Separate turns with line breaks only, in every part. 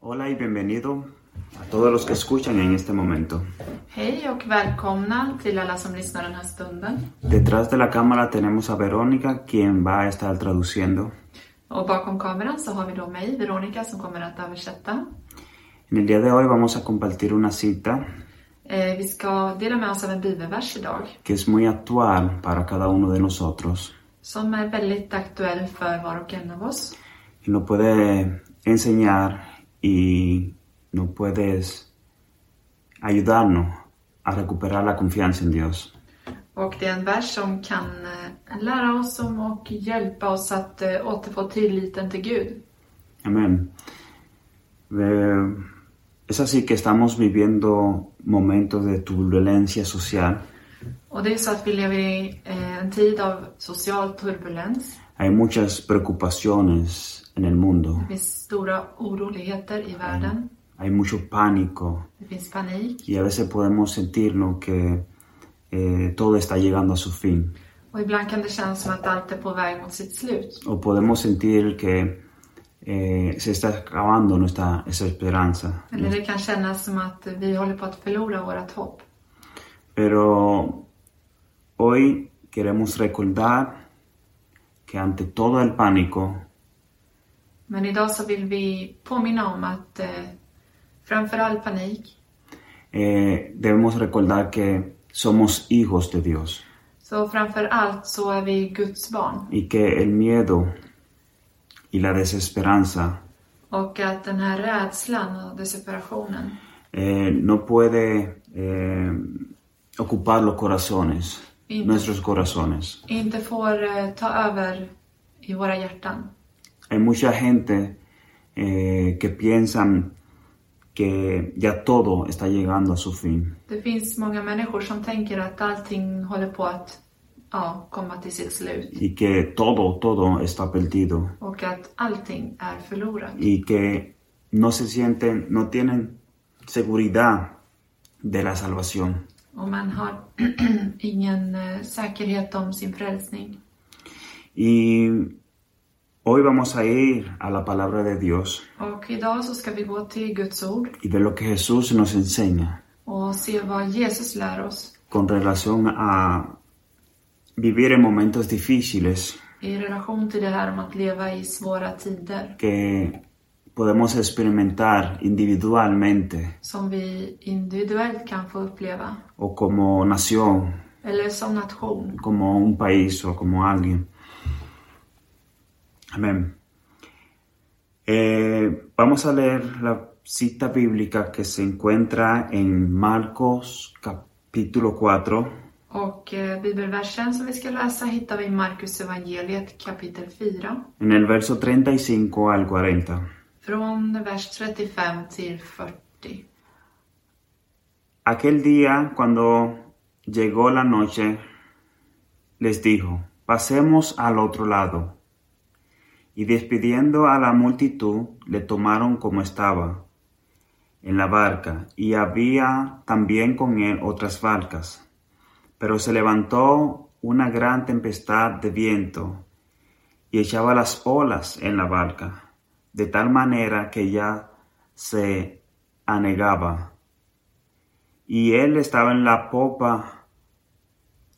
Hola y bienvenido a todos los que escuchan en este momento.
Hej och välkomna till alla som lyssnar den här stunden.
Detrás de la cámara tenemos a Verónica, quien va a estar traduciendo.
Och bakom kameran så har vi då mig, Veronica, som kommer att översätta.
En el día de hoy vamos a compartir una cita
Eh, vi ska dela med oss av en bibelvers idag
que es muy actual para cada uno de nosotros
som är väldigt aktuell för var och en av oss
y nos puede enseñar y nos puedes ayudarnos a recuperar la confianza en Dios.
och det är en vers som kan eh, lära oss om och hjälpa oss att eh, återfå tilliten till Gud.
Amén. Eh, es así que estamos viviendo momentos de turbulencia social.
Och det är så att vi lever i eh, en tid av social turbulens.
Hay muchas preocupaciones en el mundo. Eh,
Det finns stora oroligheter i världen.
Hay mucho pánico
Det finns panik
y a veces podemos sentirnos que eh, todo está llegando a su fin.
och ibland kan det kännas som att allt är på väg mot sitt slut.
O podemos sentir que eh, se está acabando nuestra esa esperanza.
Eller det kan kännas som att vi håller på att förlora vårt hopp.
Pero hoy queremos recordar que ante todo el pánico
Men idag så vill vi påminna om att eh, framför all panik
eh, debemos recordar que somos hijos de Dios
så framför allt så är vi Guds barn
y que el miedo y la desesperanza
och att den här rädslan och desesperationen
eh, no puede eh, ocupar los corazones,
Y-
nuestros corazones.
inte får eh, ta över i våra hjärtan.
Hay mucha gente eh, que piensan que ya todo está llegando a su fin.
Det finns många människor som tänker att allting håller på att ja, komma till sitt slut
y que todo, todo está perdido
och att allting är förlorat.
y que no se sienten, no tienen seguridad de la salvación.
Och man har ingen eh, säkerhet om sin frälsning.
Y hoy vamos a ir a la palabra de Dios
Och idag så ska vi gå till Guds ord
y de lo que Jesús nos enseña
och se vad Jesus lär oss
con relación a vivir en momentos difíciles
i relation till det här om att leva i svåra tider
que podemos experimentar individualmente
som vi individuellt kan få uppleva.
o como nación,
Eller som nation.
como un país o como alguien. Amén. Eh, vamos a leer la cita bíblica que se encuentra en Marcos capítulo 4,
Och eh, bibelversen som vi ska läsa hittar vi i Markus evangeliet kapitel 4.
en el verso 35 al 40.
Från vers 35 till 40.
Aquel día, cuando llegó la noche, les dijo, pasemos al otro lado. Y despidiendo a la multitud, le tomaron como estaba, en la barca, y había también con él otras barcas. Pero se levantó una gran tempestad de viento, y echaba las olas en la barca, de tal manera que ya se anegaba y él estaba en la popa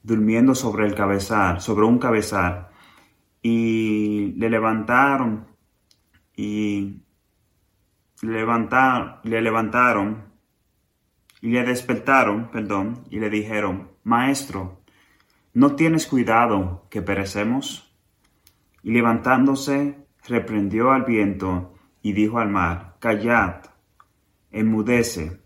durmiendo sobre el cabezal, sobre un cabezal, y le levantaron y le levantaron, le levantaron y le despertaron, perdón, y le dijeron, maestro, ¿no tienes cuidado que perecemos? Y levantándose, reprendió al viento y dijo al mar, callad, enmudece.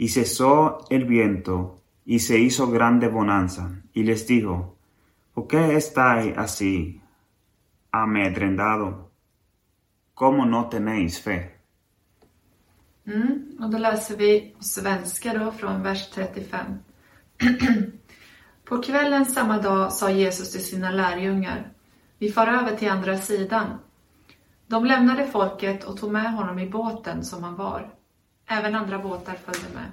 Y cesó el viento, y se hizo grande bonanza, y les dijo, ¿por qué estáis así amedrentado? ¿Cómo no tenéis fe?
Mm, och då läser vi svenska då från vers 35. På kvällen samma dag sa Jesus till sina lärjungar Vi far över till andra sidan. De lämnade folket och tog med honom i båten som han var. Även andra båtar följde med.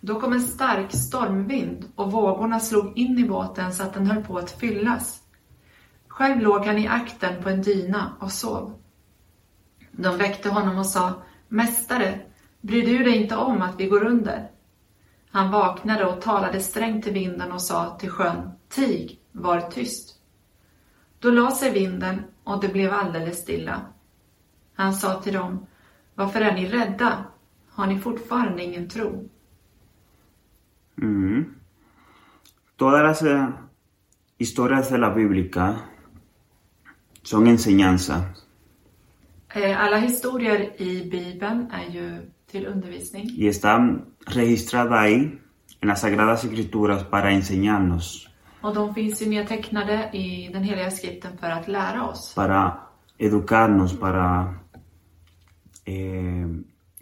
Då kom en stark stormvind och vågorna slog in i båten så att den höll på att fyllas. Själv låg han i akten på en dyna och sov. De väckte honom och sa Mästare, bryr du dig inte om att vi går under? Han vaknade och talade strängt till vinden och sa till sjön, Tig, var tyst. Då la sig vinden och det blev alldeles stilla. Han sa till dem, varför är ni rädda? Har ni fortfarande ingen tro?
Mm. Todas las eh, historias de la Bíblica son enseñanzas
Eh, Alla historier i Bibeln är ju till undervisning
y están registradas ahí en las Sagradas Escrituras para enseñarnos,
och de finns ju nedtecknade i den heliga skriften för att lära oss.
para educarnos, para eh,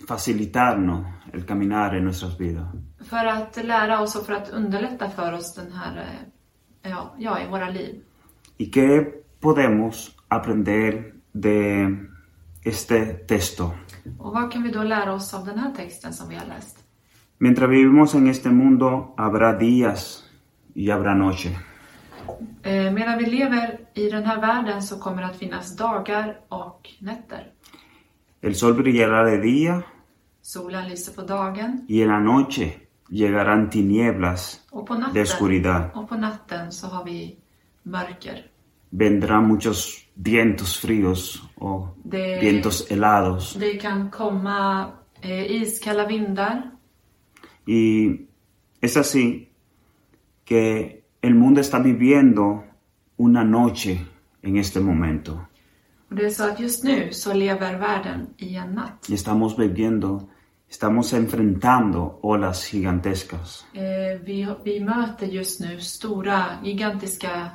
facilitarnos el caminar en nuestras vidas.
För att lära oss och för att underlätta för oss den här, eh, ja, ja i våra liv.
¿Y qué podemos aprender de este texto?
Och vad kan vi då lära oss av den här texten som vi har läst?
Mientras vivimos en este mundo habrá días y habrá noche.
Eh, medan vi lever i den här världen så kommer det att finnas dagar och nätter.
El sol brillará de día
Solen lyser på dagen
y en la noche llegarán tinieblas
och på
de
natten.
oscuridad.
Och på natten så har vi mörker.
Vendrán muchos vientos fríos o
De-
vientos helados
Det kan komma eh, iskalla vindar
y es así que el mundo está viviendo una noche en este momento.
och det är så att just nu så lever världen i en natt.
y estamos viviendo, estamos enfrentando olas gigantescas.
Eh, vi, vi möter just nu stora, gigantiska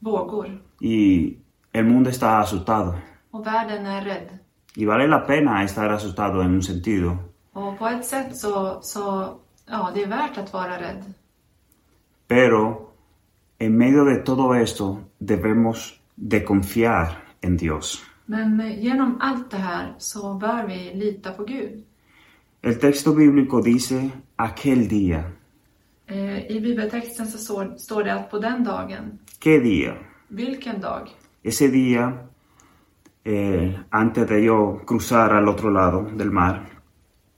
vågor
Y el mundo está asustado.
och världen är rädd.
Y vale la pena estar asustado en un sentido,
Och på ett sätt så, så ja, det är värt att vara rädd.
pero en medio de todo esto debemos de confiar en Dios.
Men eh, genom allt det här så bör vi lita på Gud.
El texto bíblico dice aquel día.
Eh, I bibeltexten så står, står det att på den dagen,
¿Qué día?
vilken dag?
Ese día, eh, antes de yo cruzar al otro lado del mar,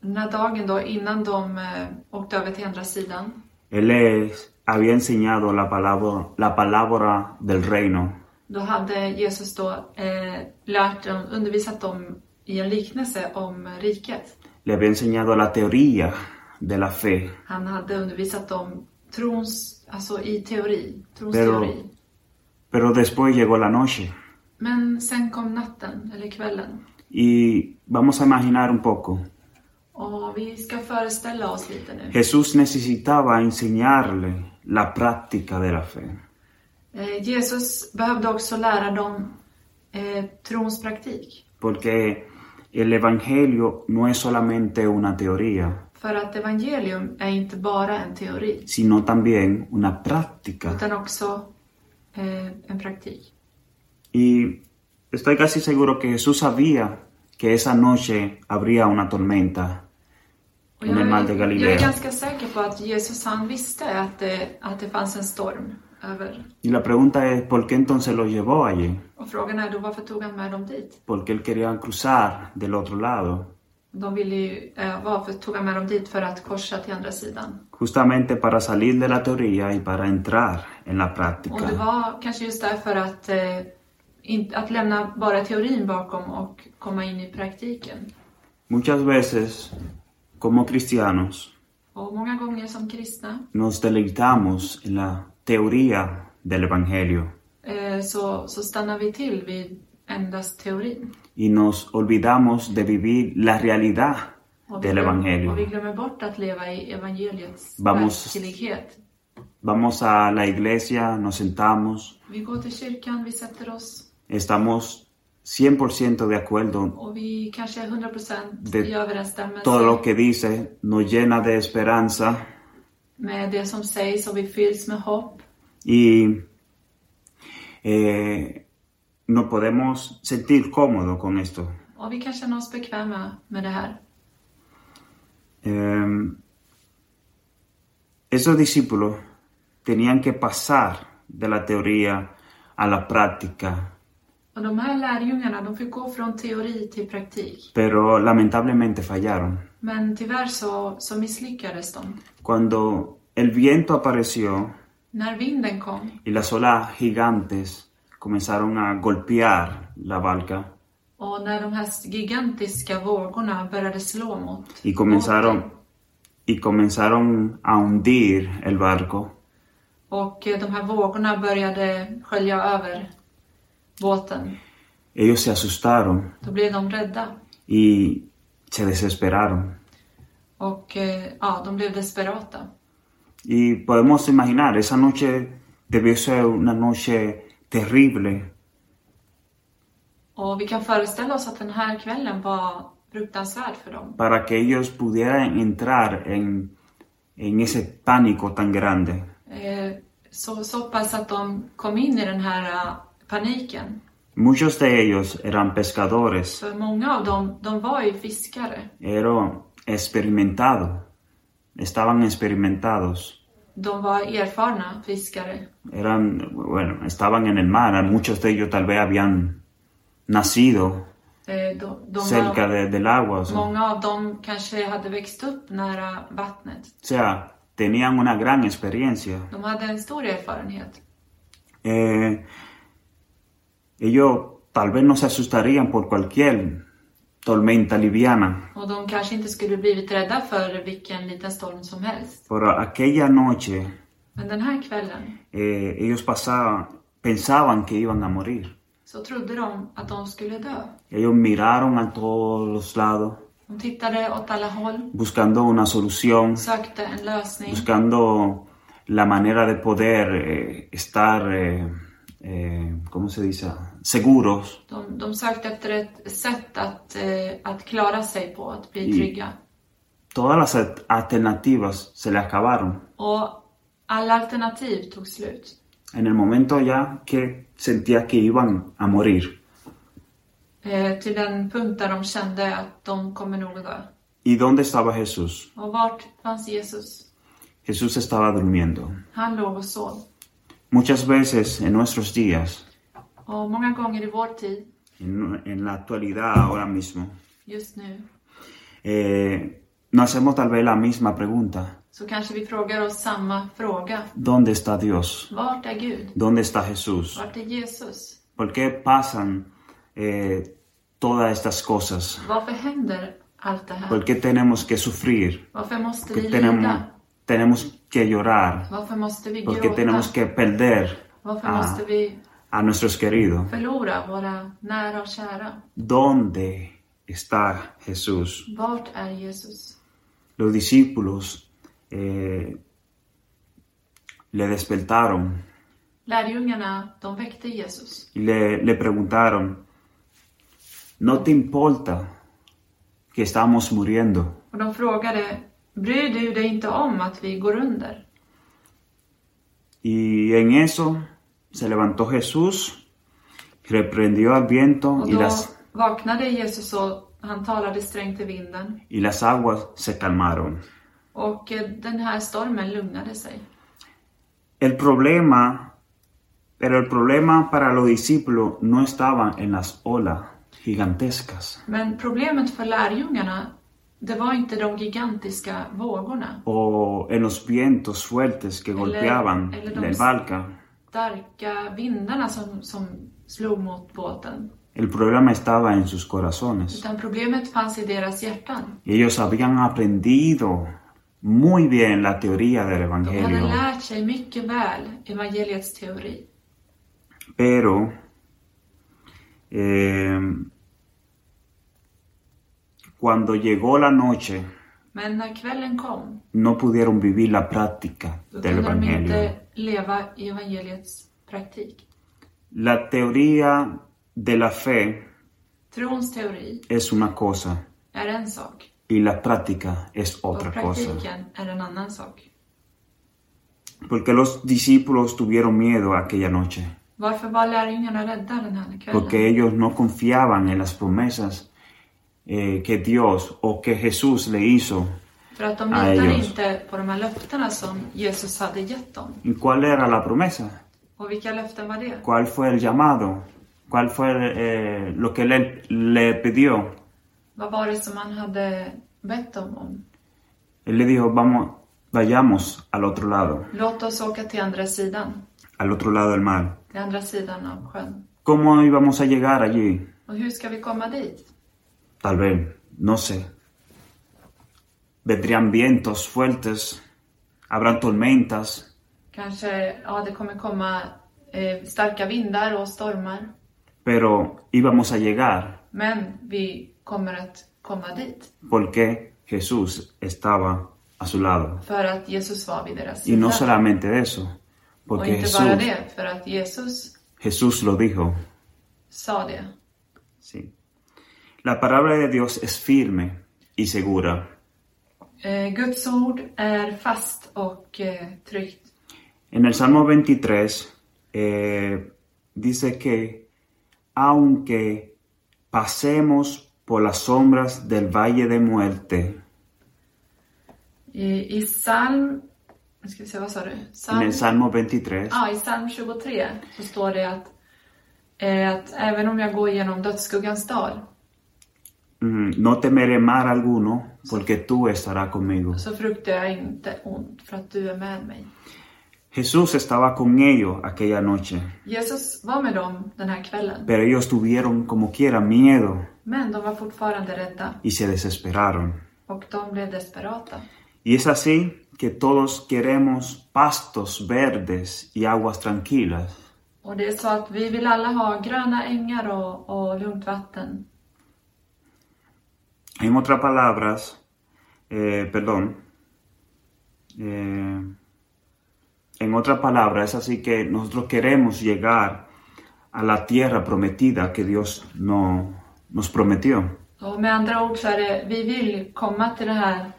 Den här dagen då innan de eh, åkte över till andra sidan
Él les había enseñado la palabra, la palabra del reino
Då hade Jesus då eh, lärt dem, undervisat dem i en liknelse om riket.
le había enseñado la teoría de la fe,
Han hade undervisat dem trons, alltså i teori, trons
Pero-
teori.
pero después llegó la noche.
Men sen kom natten, eller kvällen.
Y vamos a imaginar un poco.
Och vi ska föreställa oss lite nu.
Jesús necesitaba enseñarle la práctica de la fe.
Eh, Jesus behövde också lära dem eh, trons praktik.
Porque el Evangelio no es solamente una teoría,
För att evangelium är inte bara en teori,
sino también una práctica.
utan också eh, en praktik.
Y estoy casi seguro que Jesús sabía que esa noche habría una tormenta
Och
Men
jag,
Madde
är,
Galilea.
jag är ganska säker på att Jesus han visste att det, att det fanns en storm över.
Y la pregunta es, ¿por qué entonces lo llevó allí?
Och frågan är då varför tog han med dem dit?
Porque él quería cruzar del otro lado,
De ville ju, eh, varför tog han med dem dit för att korsa till andra sidan?
justamente para salir de la teoría y para entrar en la
Och det
práctica.
var kanske just därför att, eh, in, att lämna bara teorin bakom och komma in i praktiken.
Muchas veces, como cristianos,
Och många gånger som kristna
nos deleitamos en la teoría del Evangelio
eh, så, så stannar vi till vid endast teorin.
y nos olvidamos de vivir la realidad
Och vi,
del
glöm- och vi
Evangelio.
glömmer bort att leva i evangeliets
Vamos-
verklighet.
Vamos a la iglesia, nos sentamos,
Vi går till kyrkan, vi sätter oss
estamos 100% de acuerdo
och vi kanske är 100%
Det-
i överensstämmelse
Todo lo que dice nos llena de esperanza
med det som sägs och vi fylls med hopp.
y eh, nos podemos sentir cómodos con esto.
Och vi kan känna oss bekväma med det här.
Eh, esos discípulos tenían que pasar de la teoría a la práctica
Och de här lärjungarna, de fick gå från teori till praktik.
pero lamentablemente fallaron.
Men tyvärr så, så misslyckades de.
Cuando el viento apareció
När vinden kom
y las olas gigantes comenzaron a golpear la barca
och när de här gigantiska vågorna började slå mot
y comenzaron,
båten
y comenzaron a hundir el barco,
och eh, de här vågorna började skölja över båten,
ellos se asustaron
då blev de rädda.
y se desesperaron.
Och eh, ja, de blev desperata.
Y podemos imaginar, esa noche debió ser una noche terrible
Och vi kan föreställa oss att den här kvällen var fruktansvärd för dem.
para que ellos pudieran entrar en, en ese pánico tan grande.
Eh, så, så pass att de kom in i den här eh, paniken.
Muchos de ellos eran pescadores,
För många av dem, de var ju fiskare.
eran experimentados, estaban experimentados,
De var erfarna fiskare.
eran, bueno, estaban en el mar, muchos de ellos tal vez habían nacido
Eh, de, de
cerca
var,
de- del agua, o sea,
många av dem kanske hade växt upp nära vattnet.
o sea, tenían una gran experiencia.
De hade en stor erfarenhet.
Eh, ellos tal vez no se asustarían por cualquier tormenta liviana,
Och de kanske inte skulle blivit rädda för vilken liten storm som helst.
pero aquella noche
Men den här kvällen
eh, ellos pasaban, pensaban que iban a morir.
så trodde de att de skulle dö.
Ellos miraron a todos los lados
De tittade åt alla håll,
buscando una solución,
sökte en lösning
buscando la manera de poder eh, estar, eh, eh, ¿cómo se dice?, seguros.
De, de sökte efter ett sätt att, eh, att klara sig på, att bli
Mm.
trygga.
Todas las at- alternativas se le acabaron.
Och alla alternativ tog slut.
en el momento ya que sentía que iban a morir.
Eh, till den punkt där de kände att de kommer nog dö.
¿Y dónde estaba Jesús?
Och vart fanns Jesus?
Jesús estaba durmiendo.
Han låg och sov.
Muchas veces en nuestros días,
Och många gånger i vår tid,
en, en la actualidad ahora mismo,
just nu,
eh, nos hacemos tal vez la misma pregunta.
så kanske vi frågar oss samma fråga.
¿Dónde está Dios?
Vart är Gud?
¿Dónde está Jesús?
Vart är Jesus?
¿Por qué pasan eh, todas estas cosas?
Varför händer allt det
¿Por
här?
qué tenemos que sufrir?
Varför måste
¿Por
vi
qué tenemos,
lida?
tenemos que llorar?
Varför måste vi
¿Por qué
gråta?
tenemos que perder
Varför
a,
måste vi
a nuestros queridos?
förlora våra nära och kära?
¿Dónde está Jesús?
Vart är Jesus?
Los discípulos eh, le despertaron
Lärjungarna, de väckte Jesus
y le, le preguntaron, ¿no te importa que estamos muriendo?
och de frågade Bryr du dig inte om att vi går under?
Y en eso se levantó Jesús, reprendió al viento
Och
y
då
las,
vaknade Jesus och han talade strängt till vinden
y las aguas se calmaron.
och eh, den här stormen lugnade sig.
El problema, pero el problema para los discípulos no estaba en las olas gigantescas.
Men problemet för lärjungarna, det var inte de gigantiska vågorna,
o en los vientos fuertes que golpeaban
el-
la barca.
starka vindarna som, som slog mot båten,
El problema estaba en sus corazones.
utan problemet fanns i deras hjärtan.
Ellos habían aprendido muy bien la teoría del
De hade
Evangelio,
lärt sig mycket väl evangeliets teori,
pero eh, cuando llegó la noche
men när kvällen kom
no pudieron vivir la práctica
Då
del
kunde de
Evangelio.
inte leva i evangeliets praktik.
La teoría de la fe
Trons teori
es una cosa
är en sak
y la práctica es
och
otra cosa.
praktiken är en annan sak.
Porque los discípulos tuvieron miedo aquella noche,
Varför var lärjungarna rädda den här kvällen?
porque ellos no confiaban en las promesas eh, que Dios o que Jesús le hizo.
För att de
Nej,
litade
just.
inte på de här löftena som Jesus hade gett dem.
¿Y cuál era la promesa?
Och vilka löften var det?
¿Cuál fue el llamado? ¿Cuál fue eh, lo que le, le pidió?
Vad var det som han hade bett dem om?
Él le dijo, vamos, vayamos al otro lado,
Låt oss åka till andra sidan,
al otro lado del mar.
till andra sidan av sjön.
¿Cómo íbamos a llegar allí?
Och hur ska vi komma dit?
Tal vez, no sé. Vendrían vientos fuertes, habrán tormentas,
Kanske, ja det kommer komma eh, starka vindar och stormar.
pero íbamos a llegar
Men vi kommer att komma dit.
porque Jesús estaba a su lado.
För att Jesus var vid deras
Y no
sida.
solamente eso,
Och
porque
inte bara
Jesús,
det, för att Jesus
Jesús lo dijo.
sa det.
Sí. La palabra de Dios es firme y segura.
Eh, Guds ord är fast och eh, tryggt.
En el Salmo 23 eh, dice que aunque pasemos por las sombras del valle de muerte,
I, i psalm... Nu ska vi se, vad sa du?
en
Psalm,
el Salmo 23,
ja, I psalm 23 så står det att, eh, att även om jag går igenom dödsskuggans dal
mm, no temeré mal alguno porque tú estarás conmigo.
så fruktar jag inte ont för att du är med mig.
Jesús estaba con ellos aquella noche,
Jesus var med dem den här kvällen,
pero ellos tuvieron como quiera miedo
men de var fortfarande rädda
y se desesperaron.
och de blev desperata.
Y es así que todos queremos pastos verdes y aguas tranquilas.
Och det är så att vi vill alla ha gröna ängar och, och lugnt vatten.
En otras palabras, eh, perdón, eh, en otras palabras, es así que nosotros queremos llegar a la tierra prometida que Dios no- nos prometió.
Och med andra ord så är det, vi vill komma till det här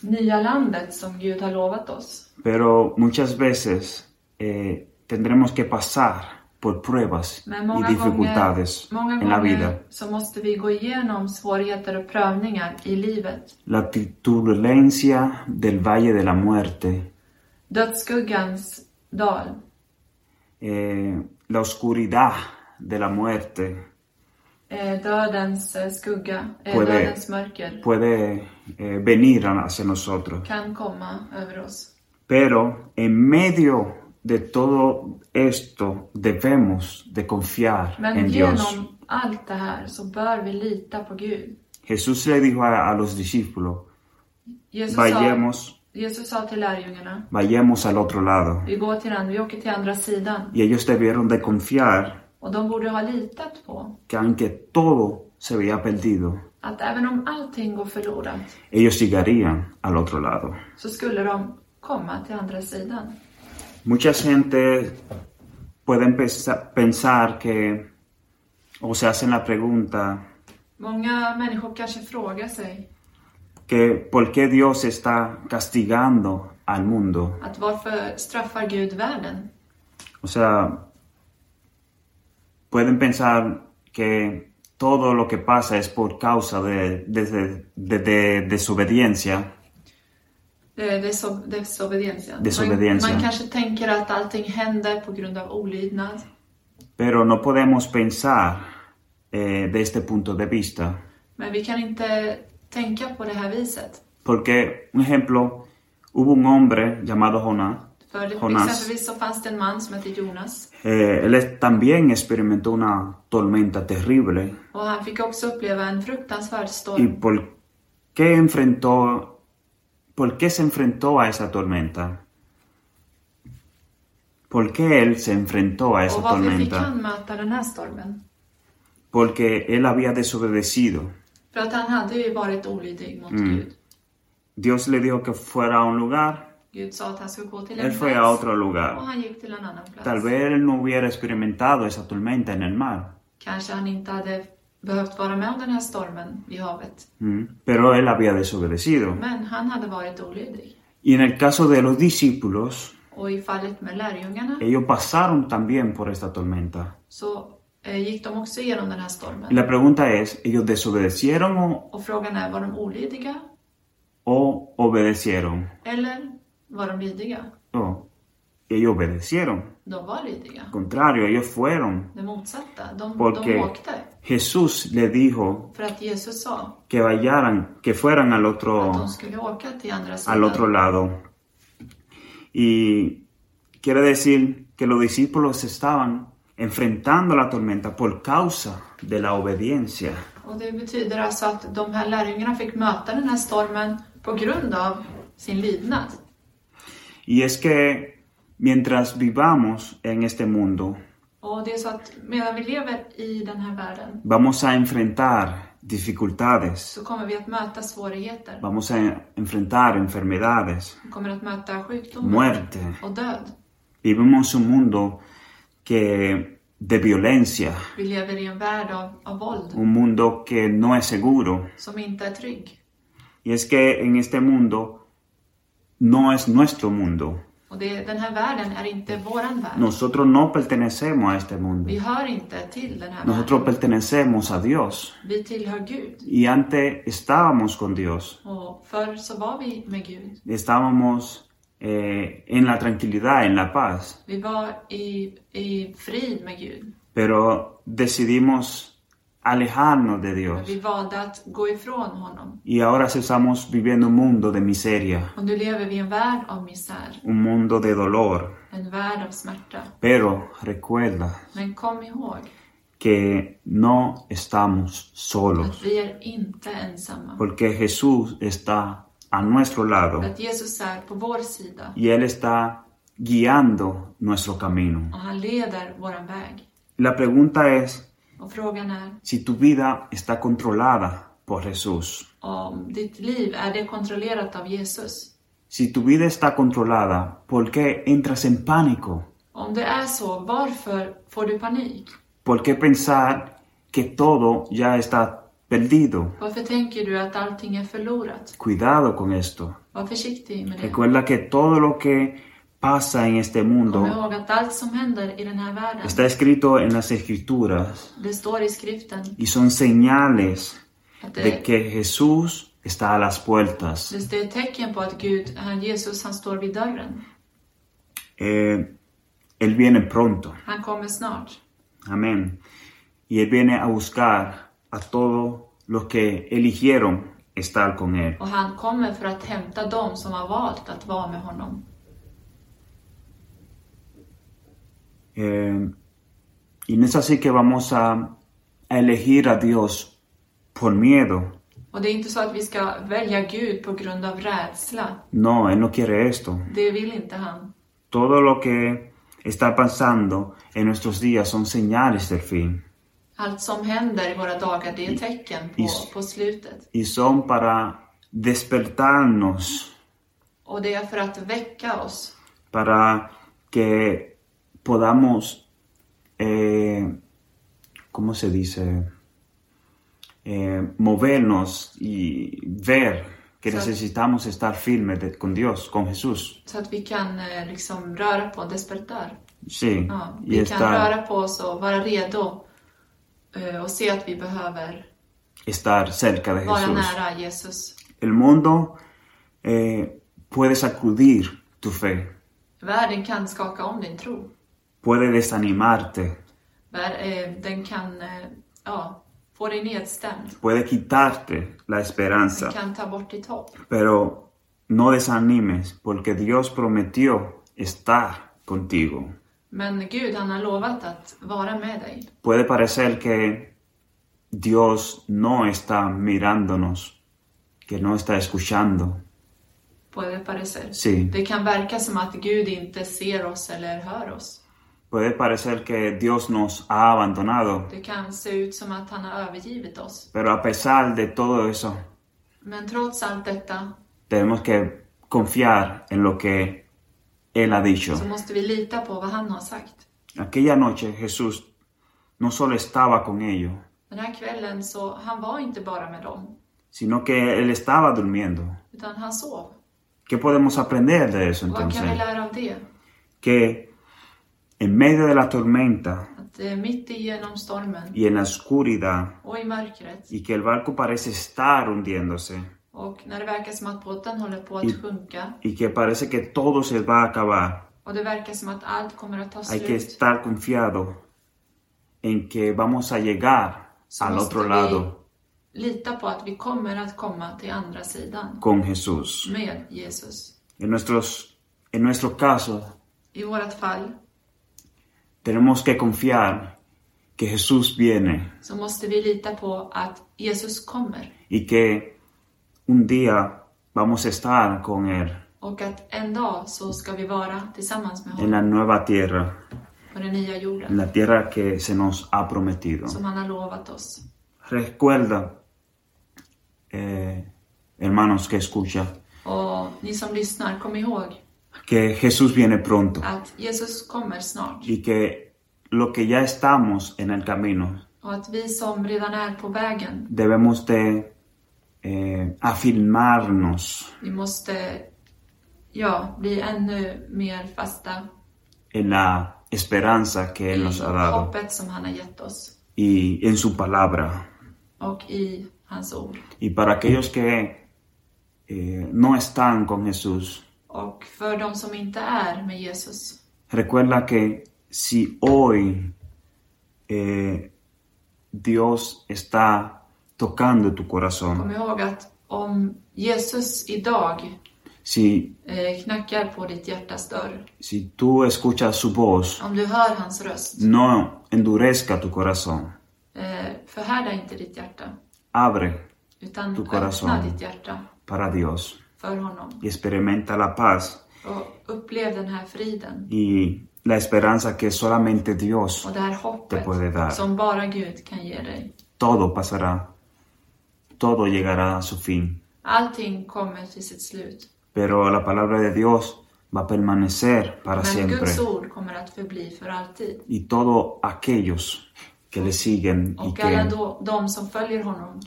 nya landet som Gud har lovat oss.
Pero muchas veces eh, tendremos que pasar por pruebas
Men
y
många gånger,
dificultades
många
en la vida.
gånger så måste vi gå igenom svårigheter och prövningar i livet.
La turbulencia del valle de la muerte,
Dödsskuggans dal,
eh, la oscuridad de la muerte.
eh, dödens eh, skugga, eh,
På det.
dödens mörker
puede eh, venir a- hacia nosotros.
kan komma över oss.
Pero en medio de todo esto debemos de confiar
Men
en Dios.
genom allt det här så bör vi lita på Gud.
Jesús le dijo a, a los discípulos,
Jesus sa,
vayamos,
Jesus sa till lärjungarna,
vayamos al otro lado.
vi går till den, vi åker till andra sidan.
Y ellos debieron de confiar
Och de borde ha litat på
que aunque todo se veía perdido,
att även om allting går förlorat
ellos llegarían al otro lado.
så skulle de komma till andra sidan.
Mucha gente puede empeza- pensar que, o se hacen la pregunta,
Många människor kanske frågar sig
que por qué Dios está castigando al mundo.
att varför straffar Gud världen?
O sea, pueden pensar que todo lo que pasa es por causa de, de- de- de- de desobediencia,
Det är deso- desobediensen.
Desobediensen.
Man, man kanske tänker att allting händer på grund av olydnad.
pero no podemos pensar eh, de este punto de vista.
Men vi kan inte tänka på det här viset.
Porque, un ejemplo, hubo un hombre llamado Jonás,
För det,
Jonas.
exempelvis så fanns det en man som hette Jonas
eh, él es- también experimentó una tormenta terrible
och han fick också uppleva en fruktansvärd
¿Y
storm.
por qué enfrentó, por qué se enfrentó a esa tormenta? ¿Por qué él se enfrentó a esa
Och varför fick
tormenta?
han möta den här stormen?
Porque él había desobedecido.
För att han hade ju varit olydig mot Gud.
Dios le dijo que fuera a un lugar,
Gud sa att han skulle gå till en
él
plats
fue a otro
och
lugar.
han gick till en annan plats.
Tal vez él no hubiera experimentado esa tormenta en el mar,
Kanske han inte hade behövt vara med om den här stormen i havet.
¿Mm? pero él había desobedecido.
Men han hade varit olydig.
Y en el caso de los discípulos,
Och i fallet med lärjungarna
ellos pasaron también por esta tormenta.
så eh, gick de också igenom den här
Y
stormen.
la pregunta es, ¿ellos desobedecieron o
Och frågan är, var de olydiga
o obedecieron.
eller var de lydiga?
Oh, ellos obedecieron.
De var lydiga.
Al contrario, ellos fueron.
Det motsatta, de, de
Porque
åkte.
Jesús le dijo
För att Jesus sa
que vayaran, que fueran al
att
otro,
de skulle åka till andra
al
sidan.
otro lado. Y quiere decir que los discípulos estaban enfrentando la tormenta por causa de la obediencia.
Och det betyder alltså att de här lärjungarna fick möta den här stormen på grund av sin lydnad.
Y es que mientras vivamos en este mundo,
Och det är så att medan vi lever i den här världen
vamos a enfrentar dificultades,
så kommer vi att möta svårigheter.
vamos a enfrentar enfermedades,
Vi kommer att möta sjukdomar
muerte.
och död.
Vivimos un mundo que de violencia,
Vi lever i en värld av, av våld
un mundo que no es seguro.
som inte är trygg.
Y es que en este mundo no es nuestro mundo.
Och det, den här världen är inte våran värld.
Nosotros no pertenecemos a este mundo.
Vi hör inte till den här
Nosotros
världen.
pertenecemos a Dios.
Vi tillhör Gud.
Y antes estábamos con Dios.
Och förr så var vi med Gud.
Estábamos eh, en la tranquilidad, en la paz.
Vi var i, i frid med Gud.
Pero decidimos alejarnos de
Men vi
Dios.
valde att gå ifrån honom.
Y ahora estamos viviendo un mundo de miseria,
Och nu lever vi i en värld av misär.
un mundo de dolor.
En värld av smärta.
Pero recuerda
Men kom ihåg
que no estamos
att
solos,
vi är inte ensamma.
porque Jesús está a nuestro lado
Att Jesus är på vår sida.
y Él está guiando nuestro camino.
Och han leder våran väg.
La pregunta es
Och frågan är
si tu vida está controlada por Jesús.
om ditt liv, är det kontrollerat av Jesus?
Si tu vida está controlada, ¿por qué entras en pánico?
Om det är så, varför får du panik?
¿Por qué pensar que todo ya está perdido?
Varför tänker du att allting är förlorat?
Cuidado con esto.
Var försiktig med det.
Recuerda que todo lo que pasa en este mundo
Kom ihåg att allt som händer i den här världen,
Está escrito en las escrituras
det står i skriften
y son señales
att
de
det,
que Jesús está a las puertas.
det är ett tecken på att Gud, han Jesus, han står vid dörren.
Eh, él viene pronto,
Han kommer snart.
amén. Y Él viene a buscar a todos los que eligieron estar con Él.
Och han kommer för att hämta dem som har valt att vara med honom.
Eh, y no es así que vamos a, a elegir a Dios por miedo.
Och det är inte så att vi ska välja Gud på grund av rädsla.
No, Él no quiere esto.
Det vill inte han.
Todo lo que está pasando en nuestros días son señales del fin.
Allt som händer i våra dagar, det är tecken på,
Is-
på slutet.
y son para despertarnos,
Och det är för att väcka oss,
para que podamos, eh, ¿cómo se dice? Eh, movernos y ver que
Sí.
necesitamos estar firmes de- con Dios, con Jesús.
så att vi kan eh, liksom röra på despertar.
Sí,
Ja,
y
vi kan
estar,
röra på oss och vara redo eh, och se att vi behöver
estar cerca de
vara
Jesús.
nära Jesus.
El mundo eh, puede sacudir tu fe,
Världen kan skaka om din tro.
puede desanimarte,
Vär- eh, Den kan eh, ja, få dig nedstämd.
puede quitarte la esperanza.
Den kan ta bort ditt hopp.
Pero no desanimes, porque Dios prometió estar contigo.
Men Gud, han har lovat att vara med dig.
Puede parecer que Dios no está mirándonos, que no está escuchando.
På det parecer.
Sí,
Det kan verka som att Gud inte ser oss eller hör oss.
puede parecer que Dios nos ha abandonado,
Det kan se ut som att han har övergivit oss.
pero a pesar de todo eso,
Men trots allt detta
tenemos que confiar en lo que Él ha dicho.
så måste vi lita på vad han har sagt.
Aquella noche Jesús no solo estaba con ellos,
Den här kvällen så, han var inte bara med dem,
sino que Él estaba durmiendo.
utan han sov.
¿Qué podemos aprender de eso
Och vad kan vi
entonces?
lära av det?
Que en medio de la tormenta
Att eh, mitt igenom stormen
y en la oscuridad
och i mörkret
y que el barco parece estar hundiéndose
och när det verkar som att båten håller på att sjunka
y que parece que todo se va a acabar,
och det verkar som att allt kommer att ta
Hay que
slut.
estar confiado en que vamos a llegar
Så
al
måste
otro
vi
lado
lita på att vi kommer att komma till andra sidan
con Jesús.
med Jesus.
En, nuestros, en nuestro caso,
I vårt fall
tenemos que confiar que Jesús viene
så måste vi lita på att Jesus kommer
y que un día vamos a estar con Él
och att en dag så ska vi vara tillsammans med
en
honom
la nueva tierra,
på den nya
en
jorden
la tierra que se nos ha prometido.
som han har lovat oss.
Recuerda, eh, hermanos que escucha,
Och ni som lyssnar, kom ihåg
que Jesús viene pronto
att Jesus kommer snart
y que lo que ya estamos en el camino
och att vi som redan är på vägen,
debemos de eh, afirmarnos
vi måste ja, bli ännu mer fasta
en la esperanza que Él nos ha
i
dado
hoppet som han har gett oss
y en su palabra.
och i hans ord.
Y para aquellos que eh, no están con Jesús,
Och för de som inte är med Jesus,
recuerda que si hoy eh, Dios está tocando tu
kom
corazón,
ihåg att om Jesus idag
si,
eh, knackar på ditt hjärtas dörr,
si tú escuchas su voz,
om du hör hans röst,
no endurezca tu corazón,
eh, förhärda inte ditt hjärta,
abre
utan
Du corazón.
öppna ditt hjärta
para Dios
för honom
y experimenta la paz
och upplev den här friden
y la esperanza que solamente Dios,
och det här
Det puede dar.
hoppet som bara Gud kan ge dig.
todo pasará, todo llegará a su fin.
Allting kommer till sitt slut,
pero la palabra de Dios va a permanecer para
men
siempre.
Guds ord kommer att förbli för alltid.
Y todos aquellos que le siguen y,
Och
que-
alla då, de som följer honom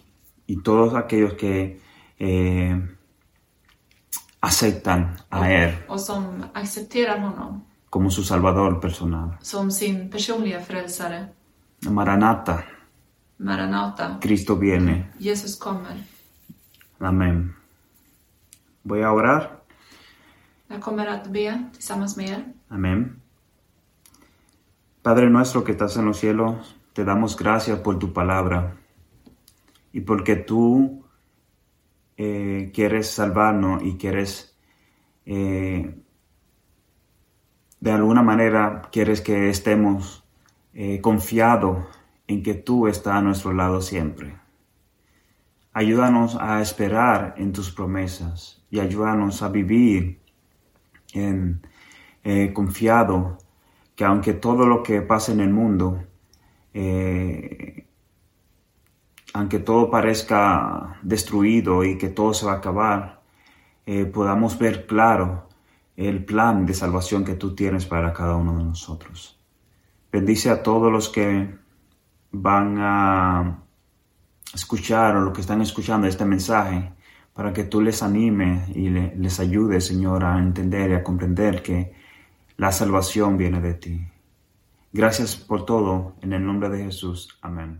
y todos aquellos que eh, aceptan a Él
och som accepterar honom
como su Salvador personal.
som sin personliga frälsare.
Maranata,
Maranata,
Cristo viene.
Jesus kommer.
Amén. Voy a orar.
Jag kommer att be tillsammans med er.
Amén. Padre nuestro que estás en los cielos, te damos gracias por tu palabra y porque tú eh, quieres salvarnos y quieres, eh, de alguna manera, quieres que estemos eh, confiados en que tú estás a nuestro lado siempre. Ayúdanos a esperar en tus promesas y ayúdanos a vivir en, eh, confiado que aunque todo lo que pasa en el mundo, eh, aunque todo parezca destruido y que todo se va a acabar, eh, podamos ver claro el plan de salvación que tú tienes para cada uno de nosotros. Bendice a todos los que van a escuchar o los que están escuchando este mensaje para que tú les anime y le- les ayude, Señor, a entender y a comprender que la salvación viene de ti. Gracias por todo, en el nombre de Jesús. Amén.